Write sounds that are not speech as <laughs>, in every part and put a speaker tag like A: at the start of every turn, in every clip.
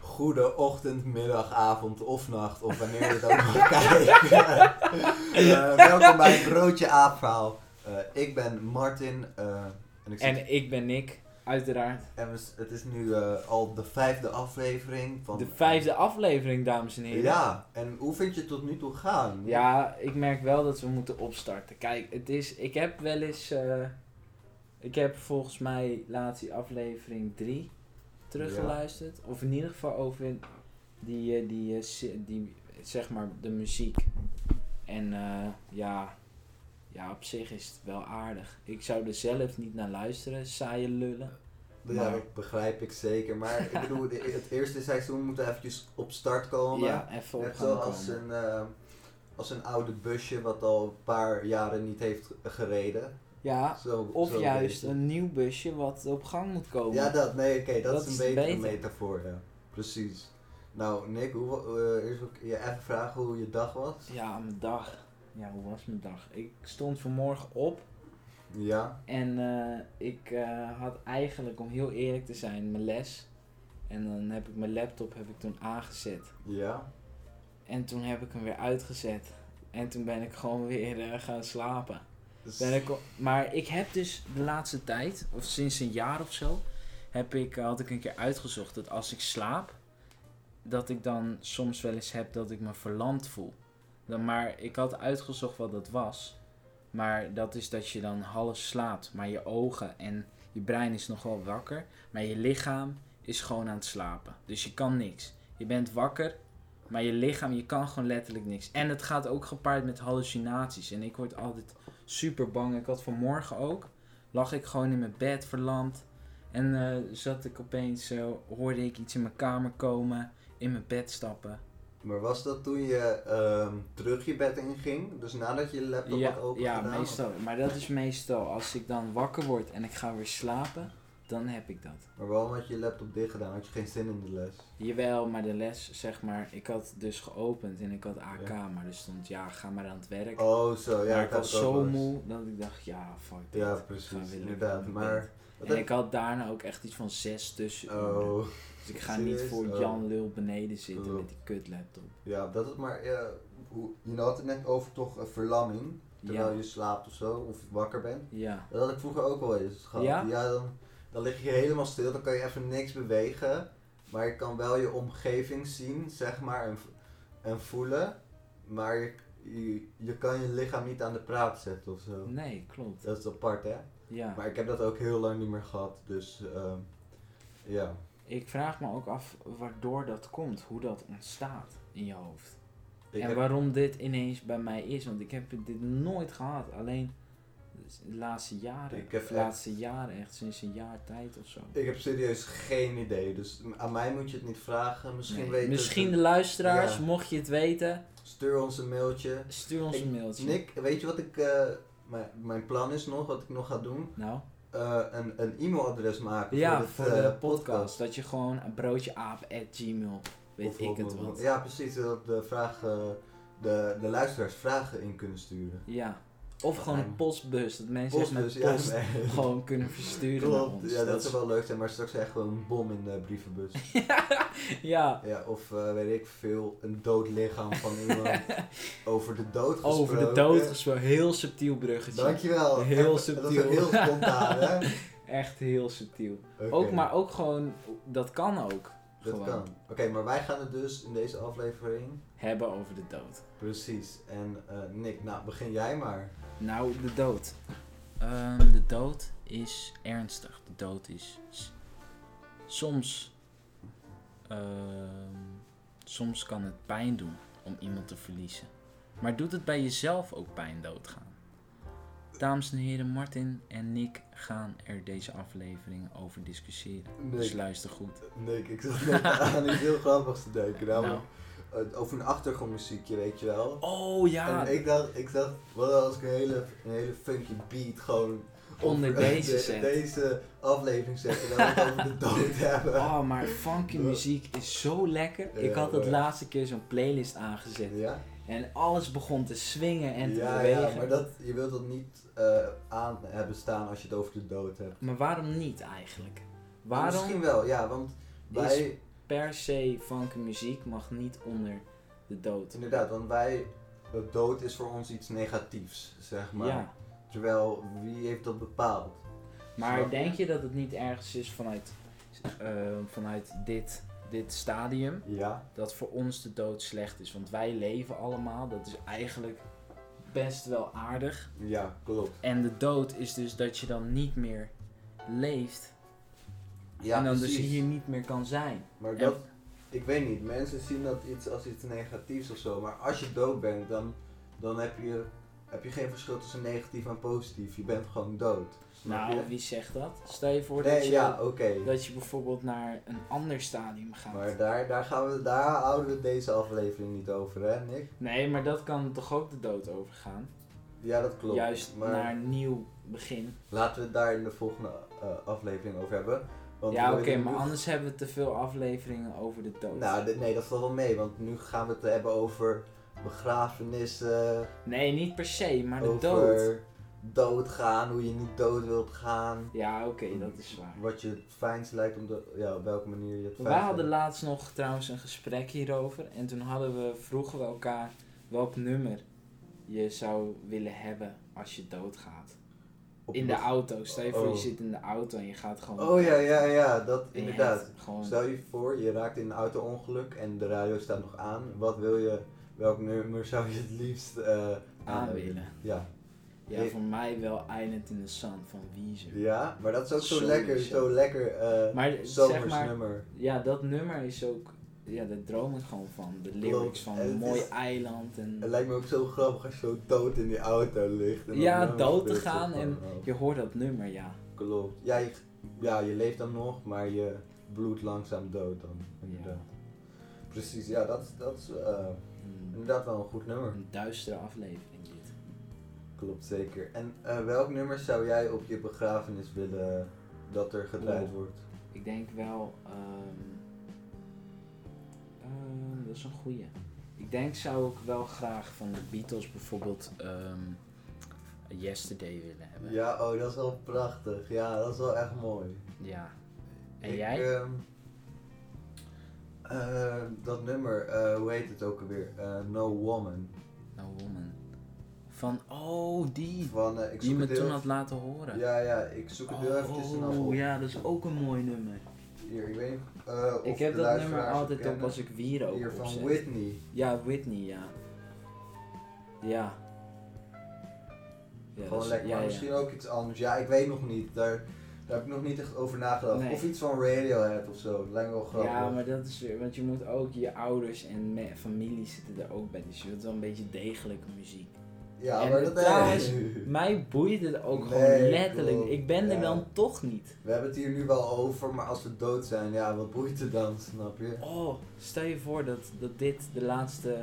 A: Goede ochtend, middag, avond of nacht, of wanneer je het ook mag kijken. Eh, welkom bij het Broodje Aap verhaal. Eh, ik ben Martin eh, en, ik zit-
B: En ik ben Nick, uiteraard.
A: en we s- het is nu eh, al de vijfde aflevering van...
B: De vijfde aflevering, dames en heren.
A: Ja, en hoe vind je het tot nu toe gaan?
B: Ja, ik merk wel dat we moeten opstarten. Kijk, het is, ik heb wel eens. eh, ik heb volgens mij laatst die aflevering 3 teruggeluisterd. Of in ieder geval over die, eh, die, eh, si- die zeg maar, de muziek. En eh, ja, ja, op zich is het wel aardig. Ik zou er zelf niet naar luisteren, saaie lullen.
A: Ja,
B: maar-
A: dat begrijp ik zeker. Maar ik bedoel, de- het eerste seizoen moet eventjes op start komen.
B: Ja, even op
A: Net
B: gaan
A: zoals
B: komen.
A: een, eh, als een oude busje wat al een paar jaren niet heeft gereden.
B: Ja,
A: Zo,
B: Of
A: zo
B: juist
A: beetje.
B: een nieuw busje wat op gang moet komen.
A: Ja, dat, nee, oké, dat,
B: Dat
A: is een
B: is
A: betere
B: beter.
A: metafoor, ja. Precies. Nou, Nick, hoe, eh, eerst wil ik je even vragen hoe je dag was.
B: Ja, mijn dag. Ja, hoe was mijn dag? Ik stond vanmorgen op
A: Ja,
B: en eh, ik eh, had eigenlijk, om heel eerlijk te zijn, mijn les. En dan heb ik mijn laptop heb ik toen aangezet.
A: ja.
B: En toen heb ik hem weer uitgezet. En toen ben ik gewoon weer eh, gaan slapen.
A: Dus-
B: Ben ik, o- maar ik heb dus de laatste tijd, of sinds een jaar of zo, heb ik, eh, had ik een keer uitgezocht dat als ik slaap, dat ik dan soms wel eens heb dat ik me verlamd voel. Dan, maar ik had uitgezocht wat dat was. Maar dat is dat je dan half slaapt, maar je ogen en je brein is nog wel wakker, maar je lichaam is gewoon aan het slapen. Dus je kan niks. Je bent wakker, maar je lichaam, je kan gewoon letterlijk niks. En het gaat ook gepaard met hallucinaties. En ik word altijd super bang. Ik had vanmorgen ook, lag ik gewoon in mijn bed verlamd. En eh, zat ik opeens, zo hoorde ik iets in mijn kamer komen, in mijn bed stappen.
A: Maar was dat toen je ehm, terug je bed inging? Dus nadat je je laptop
B: Ja,
A: had open
B: ja
A: gedaan?
B: meestal. Maar dat is meestal, als ik dan wakker word en ik ga weer slapen, dan heb ik dat.
A: Maar waarom had je je laptop dicht gedaan? Had je geen zin in de les?
B: Jawel, maar de les, zeg maar, ik had dus geopend en ik had AK, maar er stond, ja, ga maar aan het werk.
A: Oh, zo, ja.
B: maar
A: ik
B: ik
A: had
B: was
A: het ook
B: zo
A: wel eens.
B: moe dat ik dacht, ja, fuck dit.
A: Ja,
B: Ik ga
A: precies,
B: weer lekker
A: inderdaad.
B: in mijn
A: Maar
B: bed.
A: Wat
B: En
A: heb-
B: ik had daarna ook echt iets van zes tussen.
A: Oh,
B: Dus ik ga niet
A: Serieus?
B: voor
A: Oh.
B: Jan Lul beneden zitten
A: Oh.
B: met die kutlaptop.
A: ja, dat is maar... eh, hoe, je had het net over toch eh, verlamming. Terwijl
B: Ja.
A: je slaapt of zo, of wakker bent.
B: Ja.
A: Dat had ik vroeger ook wel eens gehad.
B: Ja?
A: dan, dan lig je helemaal stil, dan kan je even niks bewegen. Maar je kan wel je omgeving zien, zeg maar, en, v- en voelen. Maar je, je, je kan je lichaam niet aan de praat zetten of zo.
B: Nee, klopt.
A: Dat is apart, hè?
B: Ja.
A: Maar ik heb dat ook heel lang niet meer gehad, dus ehm, ja.
B: Ik vraag me ook af waardoor dat komt, hoe dat ontstaat in je hoofd.
A: Ik
B: en
A: heb-
B: waarom dit ineens bij mij is, want ik heb dit nooit gehad. Alleen de laatste jaren.
A: Ik heb
B: de
A: echt-
B: laatste jaren, echt sinds een jaar tijd of zo.
A: ik heb serieus geen idee, dus aan mij moet je het niet vragen. Misschien
B: Nee,
A: weten
B: misschien de luisteraars,
A: Ja.
B: mocht je het weten,
A: Stuur ons een mailtje.
B: stuur ons
A: Ik-
B: een mailtje.
A: Nick, weet je wat ik... eh, mijn, mijn plan is nog, wat ik nog ga doen?
B: Nou,
A: eh, een, een e-mailadres maken
B: ja,
A: dit,
B: voor
A: eh,
B: de podcast. Dat je gewoon een broodje aap at gmail, weet
A: Of-
B: ik
A: of-
B: het
A: of-
B: wat.
A: Ja, precies. eh, Dat de, vragen, de, de luisteraars vragen in kunnen sturen.
B: Ja. Of gewoon een postbus, dat mensen echt
A: Postbus, <laughs>
B: met
A: ja.
B: post
A: nee.
B: gewoon kunnen versturen naar
A: Klopt.
B: ons.
A: Ja, dat
B: Dat
A: zou wel leuk zijn, maar straks echt gewoon een bom in de brievenbus.
B: is- ja,
A: ja, of eh, weet ik veel, een dood lichaam
B: <laughs>
A: van iemand. Over de dood gesproken.
B: over de dood gesproken. Heel subtiel bruggetje.
A: Dankjewel.
B: Heel
A: Dat- Dat is
B: subtiel.
A: ook heel
B: <laughs>
A: spontaan, hè?
B: Echt heel subtiel.
A: Oké,
B: Ook, maar ook gewoon, dat kan ook.
A: Dat
B: gewoon
A: kan. Oké, maar wij gaan het dus in deze aflevering...
B: hebben over de dood.
A: Precies. En eh, Nick, nou begin jij maar.
B: Nou, de dood. Ehm, de dood is ernstig. De dood is s- soms. ehm, soms kan het pijn doen om iemand te verliezen. Maar doet het bij jezelf ook pijn doodgaan? Dames en heren, Martin en Nick gaan er deze aflevering over discussiëren. Dus
A: Nick,
B: luister goed.
A: Nee, ik
B: <laughs>
A: zat net aan iets heel grappigs te denken.
B: Nou.
A: Namelijk, eh, over een achtergrondmuziekje, weet je wel.
B: Oh ja,
A: En ik dacht, ik dacht, wat als ik een hele, een hele funky beat gewoon
B: Onder
A: op- <laughs>
B: deze
A: de-
B: zet.
A: deze aflevering zet en dan we het over de
B: <laughs>
A: dood hebben.
B: Oh, maar funky muziek is zo lekker. Ik
A: Ja,
B: had het
A: maar-
B: laatste keer zo'n playlist aangezet.
A: Ja,
B: En alles begon te swingen en te
A: ja,
B: bewegen.
A: ja, maar dat, je wilt dat niet eh, aan hebben staan als je het over de dood hebt.
B: Maar waarom niet eigenlijk? Waarom
A: Misschien wel, ja, want wij,
B: per se funky muziek mag niet onder de dood?
A: inderdaad, want wij, de dood is voor ons iets negatiefs, zeg maar.
B: Ja,
A: Terwijl, wie heeft dat bepaald?
B: maar
A: Snap je?
B: denk je dat het niet ergens is vanuit, eh, vanuit dit, dit stadium
A: Ja.
B: dat voor ons de dood slecht is? Want wij leven allemaal, dat is eigenlijk best wel aardig.
A: Ja, klopt.
B: En de dood is dus dat je dan niet meer leeft
A: Ja,
B: en dan
A: precies.
B: dus hier niet meer kan zijn.
A: Maar
B: En-
A: dat, ik weet niet, mensen zien dat iets als iets negatiefs of zo. Maar als je dood bent, dan, dan heb, je, heb je geen verschil tussen negatief en positief. Je bent gewoon dood. Snap
B: Nou,
A: je?
B: wie zegt dat? Stel je voor dat,
A: Nee,
B: je,
A: ja, oké.
B: dat je bijvoorbeeld naar een ander stadium gaat.
A: Maar daar, daar, gaan we, daar houden we deze aflevering niet over, hè, Nick?
B: Nee, maar dat kan toch ook de dood overgaan?
A: Ja, dat klopt.
B: Juist
A: maar
B: naar een nieuw begin.
A: laten we het daar in de volgende eh, aflevering over hebben. Want
B: ja,
A: we
B: oké,
A: willen
B: maar
A: nu-
B: anders hebben we te veel afleveringen over de dood.
A: Nou, dit- nee, dat valt wel mee, want nu gaan we het hebben over begrafenissen,
B: nee, niet per se, maar de
A: over
B: dood.
A: doodgaan, hoe je niet dood wilt gaan.
B: Ja, oké, dat is waar.
A: Wat je het fijnst lijkt om de, ja, op welke manier je het fijnst
B: Wij hadden
A: vindt.
B: laatst nog trouwens een gesprek hierover. En toen hadden we, vroegen we elkaar welk nummer je zou willen hebben als je doodgaat.
A: Op
B: In de
A: wat-
B: auto. Stel je voor,
A: Oh.
B: je zit in de auto en je gaat gewoon...
A: Oh ja, ja, ja, dat
B: En je
A: inderdaad.
B: hebt Gewoon
A: Stel je voor, je raakt in een auto-ongeluk en de radio staat nog aan. Wat wil je, welk nummer zou je het liefst eh,
B: aan
A: hebben?
B: willen.
A: Ja.
B: Ja, voor mij wel Island in the Sun van Weezer.
A: ja, maar dat is ook zo
B: Sorry,
A: lekker,
B: Michel.
A: zo lekker eh
B: Maar
A: zomers
B: zeg maar,
A: nummer.
B: ja, dat nummer is ook... Ja, daar droom ik gewoon van. De
A: Klopt.
B: lyrics van
A: En het
B: een mooi
A: is-
B: eiland
A: Het
B: en...
A: lijkt me ook zo grappig als je zo dood in die auto ligt. dan
B: Ja,
A: dan
B: dood te
A: speelt het
B: gaan en-
A: gewoon.
B: Je hoort dat nummer, ja.
A: Klopt. Ja je, ja, je leeft dan nog, maar je bloedt langzaam dood dan. Inderdaad. Precies, ja, dat, is- dat is eh,
B: Een,
A: inderdaad wel een goed nummer.
B: een duistere aflevering dit.
A: Klopt, zeker. En eh, welk nummer zou jij op je begrafenis willen dat er gedraaid
B: Oeh.
A: wordt?
B: Ik denk wel... ehm, ehm, dat is een goeie. Ik denk zou ik wel graag van de Beatles bijvoorbeeld... ehm, Yesterday willen hebben.
A: Ja, oh, dat is wel prachtig. Ja, dat is wel echt mooi.
B: Ja. En
A: Ik,
B: jij?
A: ehm, eh, dat nummer, eh, hoe heet het ook alweer? Eh, no Woman.
B: No Woman. Van, oh, die.
A: Van, eh, ik
B: Die
A: zoek
B: me
A: het heel
B: toen had laten horen.
A: Ja, ja, ik zoek het heel eventjes snel op.
B: Oh, ja, dat is ook een mooi nummer.
A: Hier, ik weet niet eh, of
B: ik heb
A: de
B: dat nummer
A: luisteraars het
B: altijd op
A: kennen.
B: als ik wierook
A: Hier van
B: opzet.
A: Whitney.
B: Ja, Whitney, ja. Ja. Ja, dat
A: Gewoon
B: is-
A: lekker.
B: ja,
A: maar
B: ja.
A: Misschien ook iets anders. Ja, ik weet nog niet. Daar, daar heb ik nog niet echt over nagedacht.
B: Nee.
A: Of iets van Radiohead of zo. Dat lijkt me wel grappig.
B: Ja, maar dat is weer, want je moet ook, je ouders en me- familie zitten er ook bij, dus je wilt wel een beetje degelijke muziek.
A: Ja,
B: en
A: maar dat
B: trouwens- Mij boeit het ook gewoon
A: Nee,
B: letterlijk,
A: klopt.
B: ik ben er
A: Ja.
B: dan toch
A: <laughs>
B: niet.
A: We hebben het hier nu wel over, maar als we dood zijn, ja, wat boeit het dan, snap je?
B: Oh, stel je voor dat, dat dit de laatste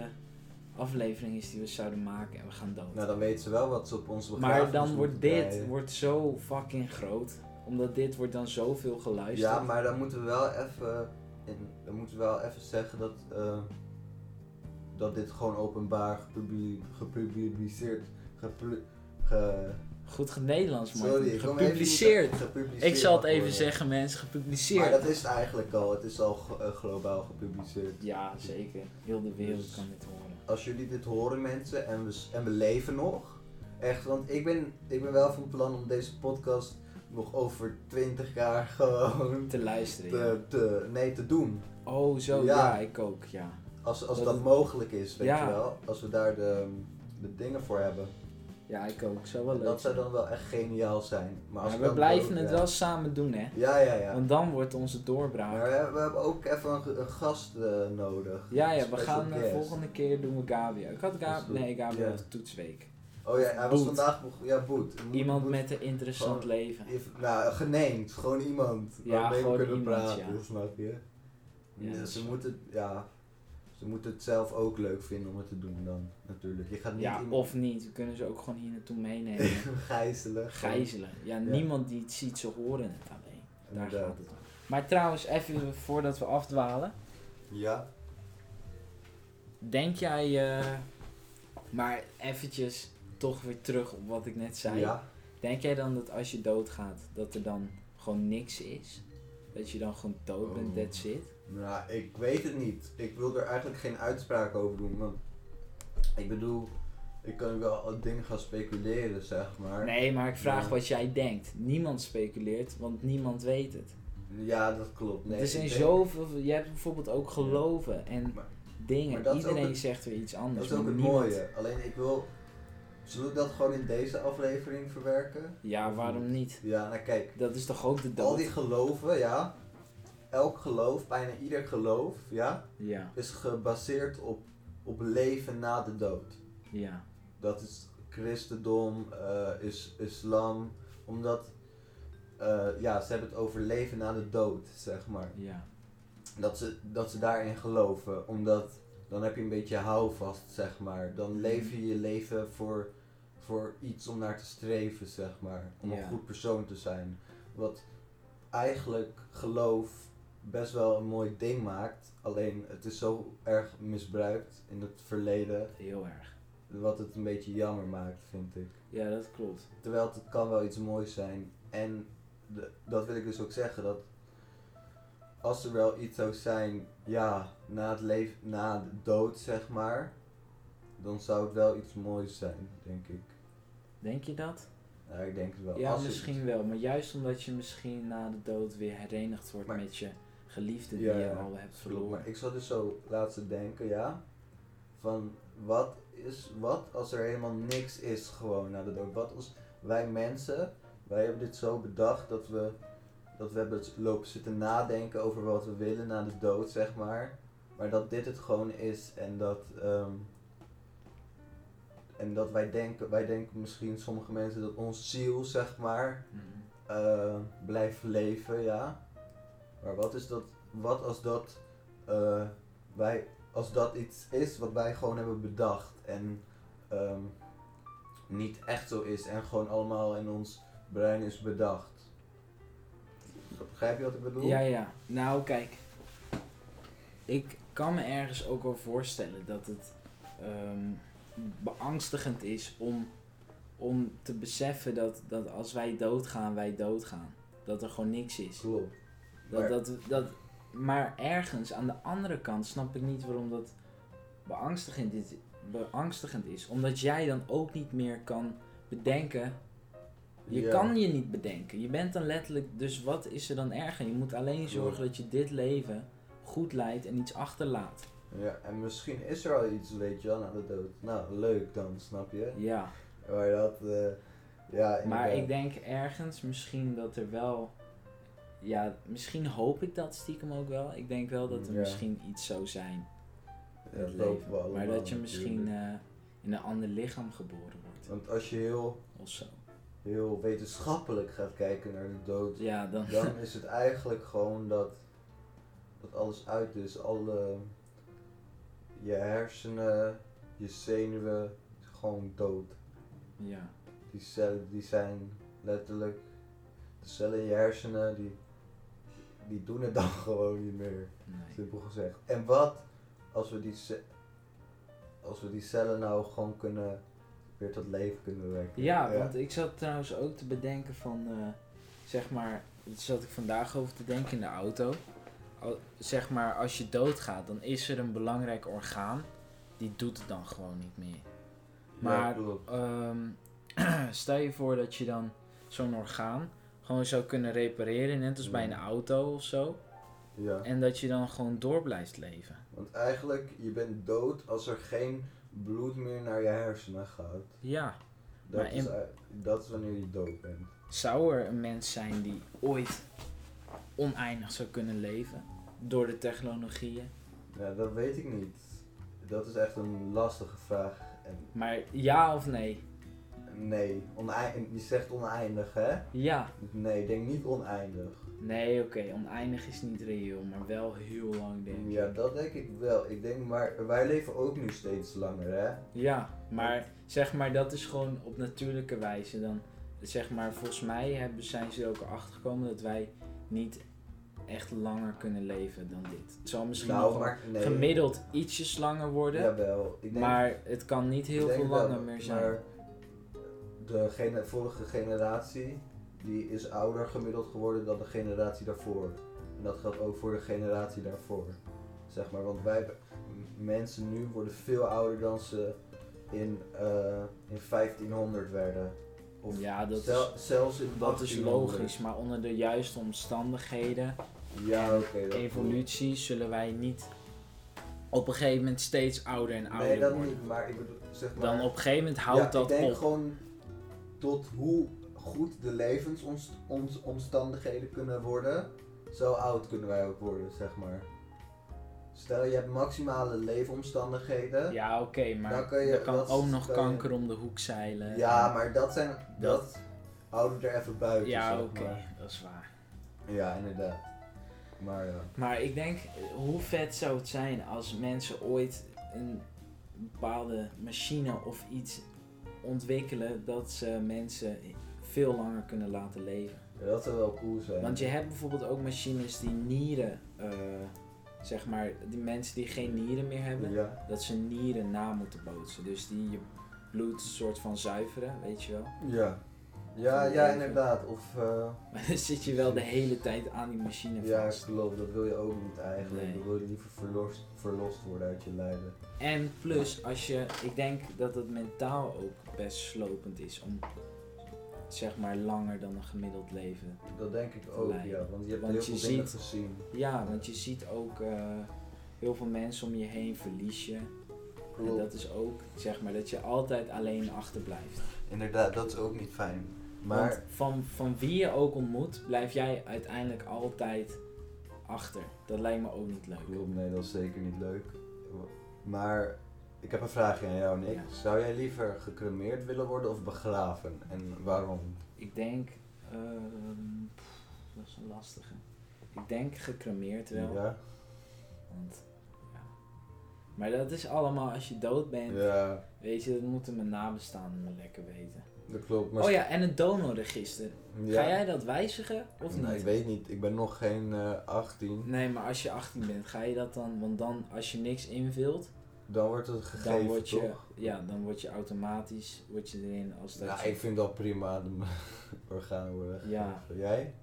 B: aflevering is die we zouden maken en we gaan dood.
A: Nou, dan weten ze wel wat ze op onze begrafenis
B: Maar dan wordt
A: moeten
B: dit
A: draaien.
B: wordt zo fucking groot. Omdat dit wordt dan zoveel geluisterd.
A: Ja, maar dan moeten we wel even. in- Dan moeten we wel even zeggen dat. eh, dat dit gewoon openbaar gepubli- gepubliceerd. Gepu ge
B: Goed genederlands, man.
A: sorry, ik kom even niet-
B: gepubliceerd.
A: gepubliceerd
B: Ik zal het
A: mag
B: even
A: worden.
B: zeggen, mensen. Gepubliceerd.
A: Maar dat is het eigenlijk al. Het is al ge- eh, globaal gepubliceerd.
B: Ja, zeker. Heel de wereld kan dit horen.
A: Als jullie dit horen, mensen, en we, s- en we leven nog. Echt, want ik ben, ik ben wel van plan om deze podcast nog over 20 jaar <laughs> gewoon
B: Te luisteren. ja.
A: te, te, nee, te doen.
B: Oh, zo. Ja.
A: Ja.
B: ik ook. Ja.
A: Als, als
B: Dat
A: dat,
B: het-
A: mogelijk is, weet
B: Ja.
A: je wel. Als we daar de, de dingen voor hebben.
B: ja, ik ook. Zou wel
A: En
B: leuk
A: dat zou
B: zijn.
A: dan wel echt geniaal zijn. Maar als
B: Maar
A: we
B: we
A: dan
B: blijven
A: dood
B: het
A: zijn-
B: wel samen doen, hè.
A: Ja, ja, ja.
B: Want dan wordt onze doorbraak.
A: Maar we, we hebben ook even een, ge- een gast eh, nodig.
B: Ja, ja. We
A: Special
B: gaan de
A: guest.
B: volgende keer doen we Gabriel. Ik had
A: Dat is
B: Gabriel.
A: goed.
B: Nee, Gabriel
A: Ja.
B: had toetsweek.
A: Oh ja, hij was
B: Boet.
A: vandaag... nog- Ja, Boet. Moet-
B: Iemand
A: moet-
B: met een
A: Oh.
B: interessant leven.
A: if- nou, geneemd. Gewoon iemand
B: Ja,
A: waarmee
B: gewoon
A: we kunnen
B: iemand,
A: praten,
B: ja.
A: snap je?
B: Ja,
A: Ja,
B: dat is
A: ze
B: waar.
A: moeten... Ja, ze moeten het zelf ook leuk vinden om het te doen dan, natuurlijk. Je gaat niet
B: Ja,
A: iemand
B: of niet. We kunnen ze ook gewoon hier naartoe meenemen.
A: <laughs> gijzelen.
B: Gijzelen. Ja, niemand die het ziet, ze horen het alleen. Daar
A: Inderdaad.
B: gaat het om. Maar trouwens, even voordat we afdwalen.
A: Ja.
B: Denk jij, eh, maar eventjes toch weer terug op wat ik net zei.
A: Ja.
B: Denk jij dan dat als je doodgaat, dat er dan gewoon niks is? Dat je dan gewoon dood bent,
A: Oh.
B: that's it.
A: Nou, ik weet het niet. Ik wil er eigenlijk geen uitspraak over doen. Want ik bedoel, ik kan wel al dingen gaan speculeren, zeg maar.
B: Nee, maar ik vraag
A: Ja.
B: wat jij denkt. Niemand speculeert, want niemand weet het.
A: Ja, dat klopt. Nee,
B: er zijn
A: ik denk-
B: zoveel... Je hebt bijvoorbeeld ook geloven en
A: Maar-
B: dingen.
A: maar dat is ook
B: Iedereen
A: het-
B: zegt weer iets anders.
A: Dat is ook
B: maar
A: het
B: niemand-
A: mooie. Alleen ik wil. Zullen we dat gewoon in deze aflevering verwerken?
B: Ja, waarom niet?
A: Ja, nou kijk.
B: Dat is toch ook de
A: Al
B: dood?
A: die geloven, ja. Elk geloof, bijna ieder geloof, ja.
B: Ja,
A: Is gebaseerd op, op leven na de dood.
B: ja.
A: Dat is christendom, eh, is islam. Omdat. eh, ja, ze hebben het over leven na de dood, zeg maar.
B: Ja,
A: Dat ze, dat ze daarin geloven. Omdat dan heb je een beetje houvast, zeg maar. Dan leef je je leven voor, voor iets om naar te streven, zeg maar. Om
B: Ja.
A: een goed persoon te zijn. Wat eigenlijk geloof best wel een mooi ding maakt. Alleen het is zo erg misbruikt in het verleden.
B: heel erg.
A: Wat het een beetje jammer maakt, vind ik.
B: Ja, dat klopt.
A: Terwijl het kan wel iets moois zijn. En de- dat wil ik dus ook zeggen, dat als er wel iets zou zijn, ja, na het leven, na de dood, zeg maar, dan zou het wel iets moois zijn, denk ik.
B: Denk je dat?
A: Ja, ik denk het wel.
B: Ja,
A: Als het-
B: misschien wel. Maar juist omdat je misschien na de dood weer herenigd wordt
A: Maar-
B: met je geliefde die
A: Ja,
B: je
A: ja.
B: al hebt
A: Klopt,
B: verloren.
A: maar ik zat dus zo laatst te denken, ja, van wat is wat als er helemaal niks is gewoon na de dood? Wat als wij mensen, wij hebben dit zo bedacht dat we, dat we hebben het lopen zitten nadenken over wat we willen na de dood, zeg maar. Maar dat dit het gewoon is en dat, ehm, en dat wij denken, wij denken misschien sommige mensen dat ons ziel, zeg maar,
B: Mhm.
A: eh, blijft leven, ja. Maar wat is dat, wat als dat, eh, wij, als dat iets is wat wij gewoon hebben bedacht en ehm, niet echt zo is en gewoon allemaal in ons brein is bedacht. Begrijp je wat ik bedoel?
B: Ja, ja. Nou, kijk. Ik kan me ergens ook wel voorstellen dat het ehm, beangstigend is om, om te beseffen dat, dat als wij doodgaan, wij doodgaan. Dat er gewoon niks is.
A: Klopt.
B: Dat,
A: Maar-
B: dat, dat, maar ergens aan de andere kant snap ik niet waarom dat beangstigend is, beangstigend is. Omdat jij dan ook niet meer kan bedenken. Je
A: Ja.
B: kan je niet bedenken. Je bent dan letterlijk. Dus wat is er dan erger? Je moet alleen zorgen dat je dit leven goed leidt en iets achterlaat.
A: Ja, en misschien is er al iets, weet je wel, na de dood. Nou, leuk dan, snap je?
B: Ja.
A: Maar dat, eh, ja,
B: Maar
A: inderdaad.
B: ik denk ergens misschien dat er wel. Ja, misschien hoop ik dat stiekem ook wel. Ik denk wel dat er
A: Ja.
B: misschien iets zou zijn.
A: Ja,
B: het
A: dat lopen we
B: leven. maar
A: allemaal
B: dat je misschien
A: natuurlijk.
B: eh, in een ander lichaam geboren wordt
A: Want als je heel
B: of zo.
A: heel wetenschappelijk gaat kijken naar de dood,
B: Ja, dan.
A: dan is het eigenlijk gewoon dat, dat alles uit is. Alle, je hersenen, je zenuwen, gewoon dood.
B: Ja,
A: Die cellen die zijn letterlijk, de cellen in je hersenen die, die doen het dan <laughs> gewoon niet meer.
B: nee.
A: Simpel gezegd. En wat als we die, ce- als we die cellen nou gewoon kunnen, weer tot leven kunnen wekken.
B: Ja, want ik zat trouwens ook te bedenken van. eh, zeg maar, daar zat ik vandaag over te denken in de auto. Al- zeg maar, als je doodgaat, dan is er een belangrijk orgaan. Die doet het dan gewoon niet meer. maar-
A: klopt.
B: Ehm, <clears throat> stel je voor dat je dan zo'n orgaan gewoon zou kunnen repareren, net als bij een auto of zo.
A: ja.
B: En dat je dan gewoon door blijft leven.
A: Want eigenlijk, je bent dood als er geen bloed meer naar je hersenen gaat.
B: Ja.
A: Dat,
B: Maar
A: is,
B: in-
A: ei- dat is wanneer je dood bent.
B: Zou er een mens zijn die ooit oneindig zou kunnen leven door de technologieën?
A: Ja, dat weet ik niet. Dat is echt een lastige vraag. En
B: Maar ja of nee?
A: nee, onei- je zegt oneindig, hè?
B: Ja.
A: Nee, ik denk niet oneindig.
B: Nee, oké, oneindig is niet reëel, maar wel heel lang denk ik.
A: Ja, dat denk ik wel. Ik denk, maar wij leven ook nu steeds langer, hè?
B: Ja, maar zeg maar dat is gewoon op natuurlijke wijze dan. Zeg maar, volgens mij hebben, zijn ze er ook achter gekomen dat wij niet echt langer kunnen leven dan dit. Het zal misschien nog wel
A: Nou, maar nee.
B: gemiddeld ietsjes langer worden,
A: Jawel. Ik denk,
B: maar het kan niet
A: Ik
B: heel veel
A: denk
B: langer
A: wel,
B: meer zijn.
A: Maar de gene- vorige generatie die is ouder gemiddeld geworden dan de generatie daarvoor. En dat geldt ook voor de generatie daarvoor. Zeg maar, want wij m- mensen nu worden veel ouder dan ze in, eh, in 1500 werden. Of
B: ja, dat is,
A: zel- zelfs in
B: dat is
A: 1800.
B: logisch, maar onder de juiste omstandigheden,
A: Ja, oké. dat-
B: evolutie, zullen wij niet op een gegeven moment steeds ouder en ouder
A: Nee, dat
B: worden.
A: niet, maar ik bedoel, zeg maar...
B: Dan op een gegeven moment houdt
A: ja,
B: dat
A: ik denk
B: op.
A: gewoon tot hoe goed de levensomstandigheden kunnen worden, zo oud kunnen wij ook worden, zeg maar. Stel je hebt maximale leefomstandigheden. Ja,
B: Ja, oké, maar
A: Dan kan je-
B: er kan
A: dat
B: ook
A: is-
B: nog
A: kan je-
B: kanker om de hoek zeilen.
A: maar dat zijn dat, houden we er even buiten.
B: Ja,
A: zeg
B: oké,
A: maar.
B: dat is waar.
A: Ja, inderdaad. Maar ja.
B: Maar ik denk, eh, hoe vet zou het zijn als mensen ooit een bepaalde machine of iets ontwikkelen dat ze mensen veel langer kunnen laten leven.
A: Ja, dat zou wel cool zijn.
B: Want je hebt bijvoorbeeld ook machines die nieren, eh, zeg maar, die mensen die geen nieren meer hebben,
A: Ja.
B: dat ze nieren na moeten bootsen. Dus die je bloed soort van zuiveren, weet je wel. <laughs>
A: Ja. Ja, ja, inderdaad. Of, eh,
B: Maar dan zit je wel de hele tijd aan die machine
A: ja,
B: vast.
A: klopt. Dat wil je ook niet eigenlijk.
B: Nee.
A: Dan wil je liever verlost, verlost worden uit je lijden.
B: En plus, als je, ik denk dat het mentaal ook best slopend is om zeg maar langer dan een gemiddeld leven.
A: Dat denk ik ook,
B: Lijden.
A: ja. Want je hebt
B: Want
A: heel
B: je
A: veel dingen
B: ziet-
A: gezien.
B: Ja, want je ziet ook eh, heel veel mensen om je heen verlies je. En
A: Klopt.
B: dat is ook zeg maar dat je altijd alleen achterblijft.
A: Inderdaad, dat is ook niet fijn.
B: Want van, van wie je ook ontmoet, blijf jij uiteindelijk altijd achter. Dat lijkt me ook niet leuk.
A: Klopt, nee, dat is zeker niet leuk. Maar ik heb een vraagje aan jou, Nick.
B: Ja.
A: Zou jij liever gecremeerd willen worden of begraven? En waarom?
B: Ik denk, ehm, pff, dat is een lastige. Ik denk gecremeerd wel.
A: Ja?
B: Want, ja. Maar dat is allemaal als je dood bent.
A: ja,
B: Weet je, dat moeten mijn nabestaanden maar lekker weten.
A: dat klopt. Maar
B: Oh ja, en het donorregister.
A: Ja.
B: Ga jij dat wijzigen of
A: Nee,
B: niet?
A: ik weet niet. Ik ben nog geen eh, 18.
B: Nee, maar als je 18 bent, ga je dat dan? Want dan, als je niks invult,
A: Dan wordt het gegeven,
B: dan word je,
A: toch?
B: ja, dan word je automatisch word je erin als dat.
A: Nou,
B: je-
A: ik vind dat prima. De <laughs> organen worden gegeven.
B: Ja.
A: Jij?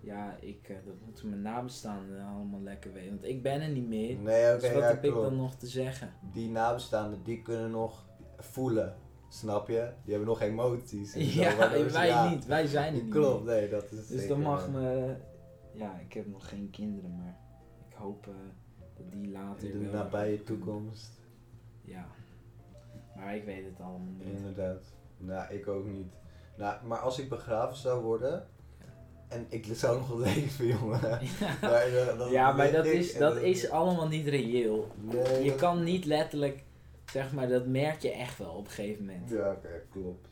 B: Ja, ik, eh, dat moeten mijn nabestaanden allemaal lekker weten. Want ik ben er niet meer.
A: Nee, oké,
B: dus wat
A: ja,
B: heb ik
A: klopt.
B: dan nog te zeggen?
A: die nabestaanden, die kunnen nog voelen. Snap je? Die hebben nog emoties. en zo,
B: <laughs> Ja,
A: waardoor ze-
B: wij
A: ja,
B: niet. Wij zijn er niet meer.
A: Klopt, nee, dat is
B: Dus
A: zeker,
B: dan mag
A: eh,
B: me. Ja, ik heb nog geen kinderen, maar ik hoop eh, dat die later.
A: In de
B: wel-
A: nabije toekomst.
B: Ja. Maar ik weet het allemaal niet.
A: Inderdaad. Nou, ik ook niet. Nou, maar als ik begraven zou worden... En ik zou nog <laughs> wel leven, jongen. Maar, eh, dan
B: ja, maar
A: lig
B: dat
A: ik
B: is,
A: en
B: dat
A: dan-
B: is allemaal niet reëel.
A: Nee,
B: Je
A: dat-
B: kan niet letterlijk, zeg maar, dat merk je echt wel op een gegeven moment.
A: Ja, oké, klopt.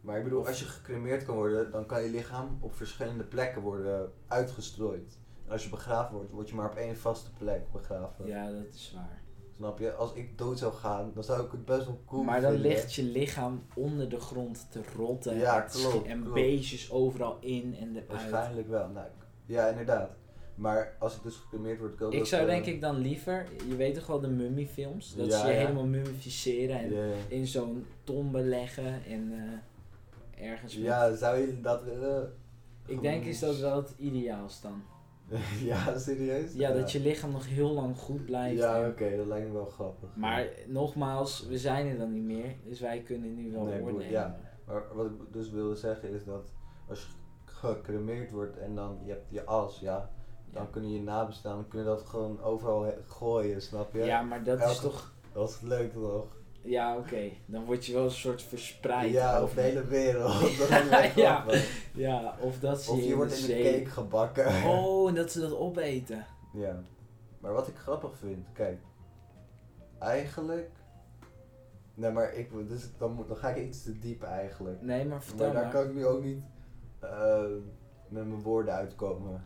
A: Maar ik bedoel, als je gecremeerd kan worden, dan kan je lichaam op verschillende plekken worden uitgestrooid. En als je begraven wordt, word je maar op één vaste plek begraven.
B: Ja, dat is waar.
A: Snap je? Als ik dood zou gaan, dan zou ik het best wel cool
B: maar dan
A: vinden.
B: ligt je lichaam onder de grond te rotten.
A: Ja,
B: Het schi-
A: klopt,
B: En
A: klopt.
B: beestjes overal in en eruit.
A: Waarschijnlijk wel. Nou, ik- ja, inderdaad. Maar als ik dus gecremeerd word, kan
B: Ik
A: dat,
B: zou
A: eh,
B: denk ik dan liever, je weet toch wel de mummiefilms? Dat
A: Ja,
B: ze je
A: ja.
B: helemaal mummificeren en
A: ja.
B: in zo'n tombe leggen en eh, ergens. met-
A: Ja, zou je dat willen?
B: ik denk is dat wel het ideaalst dan.
A: <laughs> ja, serieus?
B: Ja, dat je lichaam nog heel lang goed blijft.
A: Ja,
B: en-
A: oké, dat lijkt me wel grappig.
B: Maar nogmaals, we zijn er dan niet meer, dus wij kunnen nu wel
A: Nee, goed,
B: oordelen.
A: ja. Maar wat ik dus wilde zeggen is dat als je gecremeerd wordt en dan je hebt je as, ja, dan
B: Ja.
A: kunnen je nabestaanden kunnen dat gewoon overal he- gooien, snap je?
B: Ja, maar dat is
A: Elke-
B: toch.
A: Dat is leuk toch?
B: Ja, oké. Dan word je wel een soort verspreid.
A: ja,
B: of
A: op de hele
B: <laughs>
A: wereld. <laughs> Dat is wel
B: Ja.
A: grappig.
B: Ja, of dat ze
A: Of je wordt in
B: de
A: een
B: zee-
A: cake gebakken.
B: Oh, en dat ze dat opeten.
A: <laughs> Ja. Maar wat ik grappig vind, kijk. Eigenlijk. Nee, maar ik, dus dan, moet, dan ga ik iets te diep eigenlijk.
B: Nee, maar Mm, vertel
A: maar
B: maar.
A: daar kan ik nu ook niet eh, met mijn woorden uitkomen.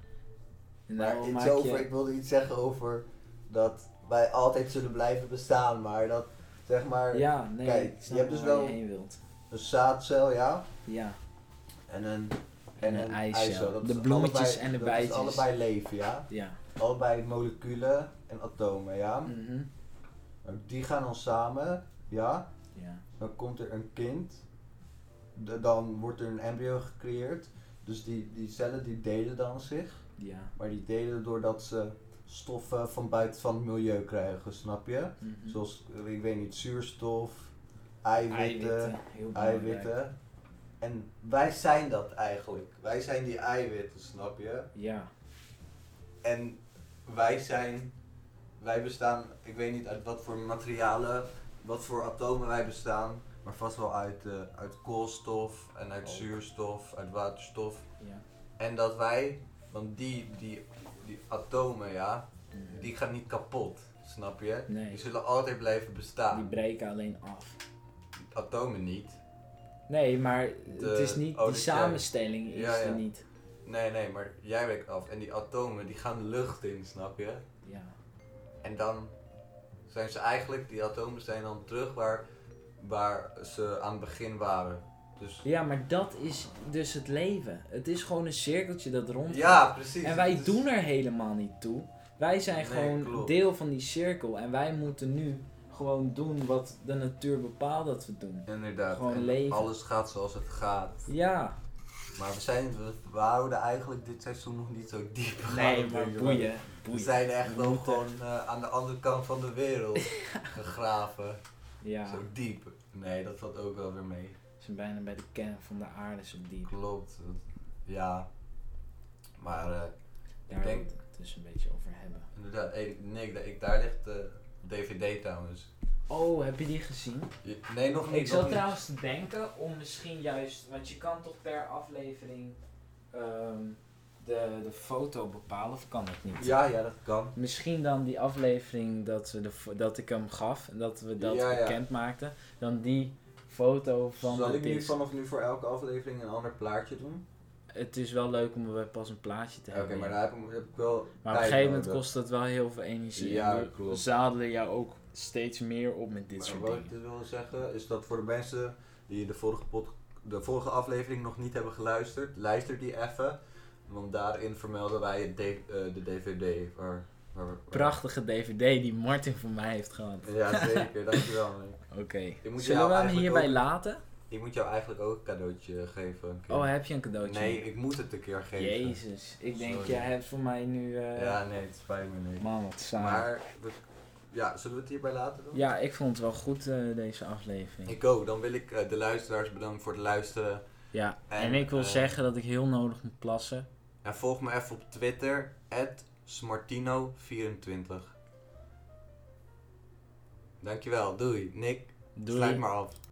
B: Nou,
A: maar
B: maak
A: iets
B: je-
A: over, ik wilde iets zeggen over dat wij altijd zullen blijven bestaan, maar dat zeg maar
B: Ja, nee,
A: Kijk,
B: ik
A: je
B: snap
A: hebt dus
B: waar
A: wel-
B: je heen wilt.
A: een zaadcel, ja,
B: Ja,
A: en een,
B: En een eicel.
A: Dat
B: De
A: is
B: bloemetjes
A: allebei-
B: en de
A: dat
B: bijtjes.
A: is allebei leven, ja.
B: ja.
A: Allebei moleculen en atomen, ja.
B: Mhm.
A: Nou, Die gaan dan samen, ja.
B: Ja.
A: Dan komt er een kind. D- dan wordt er een embryo gecreëerd. Dus die, die cellen die delen dan zich.
B: Ja.
A: Maar die delen doordat ze stoffen van buiten van het milieu krijgen, snap je?
B: Mhm.
A: Zoals, eh, ik weet niet, zuurstof, eiwitten.
B: Heel belangrijk.
A: eiwitten. En wij zijn dat eigenlijk. Wij zijn die eiwitten, snap je?
B: Ja.
A: En wij zijn, wij bestaan, ik weet niet uit wat voor materialen, wat voor atomen wij bestaan, maar vast wel uit, eh, uit koolstof en uit
B: Ook.
A: zuurstof, uit waterstof.
B: Ja.
A: En dat wij, want die, die, die atomen, ja,
B: Mhm.
A: die gaan niet kapot, snap je?
B: Nee.
A: Die zullen altijd blijven
B: Die
A: bestaan.
B: breken alleen af.
A: Atomen niet.
B: Nee, maar het is niet,
A: oh,
B: die
A: dit zijn-
B: samenstelling is
A: Ja, ja.
B: er niet.
A: Nee, nee, maar jij werkt af. En die atomen, die gaan de lucht in, snap je?
B: Ja.
A: En dan zijn ze eigenlijk, die atomen zijn dan terug waar, waar ze aan het begin waren. Dus
B: ja, maar dat is dus het leven. Het is gewoon een cirkeltje dat rond.
A: ja, precies.
B: En wij
A: Dus-
B: doen er helemaal niet toe. Wij zijn
A: Nee,
B: gewoon
A: klopt.
B: deel van die cirkel. En wij moeten nu gewoon doen wat de natuur bepaalt dat we doen.
A: Inderdaad.
B: gewoon
A: en
B: leven.
A: Alles gaat zoals het gaat.
B: Ja.
A: Maar we zijn, we, we houden eigenlijk dit seizoen nog niet zo diep gegaan.
B: Nee,
A: op
B: maar
A: deze
B: boeien.
A: We
B: Boeien.
A: zijn echt
B: We
A: nog
B: moeten-
A: gewoon eh, aan de andere kant van de
B: <laughs>
A: wereld gegraven.
B: Ja,
A: Zo diep. Nee, dat valt ook wel weer mee.
B: we zijn bijna bij de kern van de aarde zo diep.
A: Klopt. dat- Ja. Maar eh,
B: Daar
A: denk-
B: moeten we het dus een beetje over hebben.
A: inderdaad, hey, Nick, da- ik, daar ligt de DVD trouwens.
B: Oh, heb je die gezien?
A: Je- nee, nog niet.
B: ik
A: nog
B: zat
A: niet.
B: trouwens te denken om misschien juist, want je kan toch per aflevering ehm, de, de foto bepalen, of kan dat niet?
A: Ja, ja, dat kan.
B: Misschien dan die aflevering dat, we de, fo- dat ik hem gaf en dat we dat
A: Ja, ja.
B: bekend maakten, dan die foto van
A: Zal
B: de
A: ik nu
B: dings.
A: vanaf nu voor elke aflevering een ander plaatje doen?
B: Het is wel leuk om er pas een plaatje te
A: Oké,
B: hebben.
A: maar
B: ja.
A: daar heb ik, heb ik wel.
B: Maar op een
A: tijd
B: gegeven moment
A: nodig.
B: kost dat wel heel veel energie.
A: Ja,
B: en we
A: klopt.
B: zadelen jou ook steeds meer op met dit
A: Maar
B: soort
A: wat
B: dingen.
A: ik dus wil zeggen is dat voor de mensen die de vorige, pod, de vorige aflevering nog niet hebben geluisterd, luister die even. Want daarin vermelden wij het D- eh, de DVD. Waar, waar, waar-
B: Prachtige DVD die Martin voor mij heeft gehad.
A: Ja,
B: <laughs>
A: zeker. dankjewel. Nick.
B: Oké.
A: moet
B: Zullen
A: jou
B: we hem
A: eigenlijk
B: hierbij
A: ook-
B: laten?
A: Ik moet jou eigenlijk ook een cadeautje geven. een keer.
B: Oh, heb je een cadeautje?
A: nee, ik moet het een keer geven.
B: Jezus, ik denk,
A: Sorry.
B: jij hebt voor mij nu... eh,
A: Ja, nee, het spijt me niet.
B: Man, wat saai.
A: Maar, we- ja, zullen we het hierbij laten dan?
B: Ja, ik vond het wel goed, eh, deze aflevering.
A: Ik ook. Dan wil ik eh, de luisteraars bedanken voor het luisteren.
B: Ja, en,
A: En,
B: ik wil
A: eh,
B: zeggen dat ik heel nodig moet plassen.
A: En volg me even op Twitter, smartino24. Dankjewel, doei. Nick,
B: Doei.
A: sluit maar af.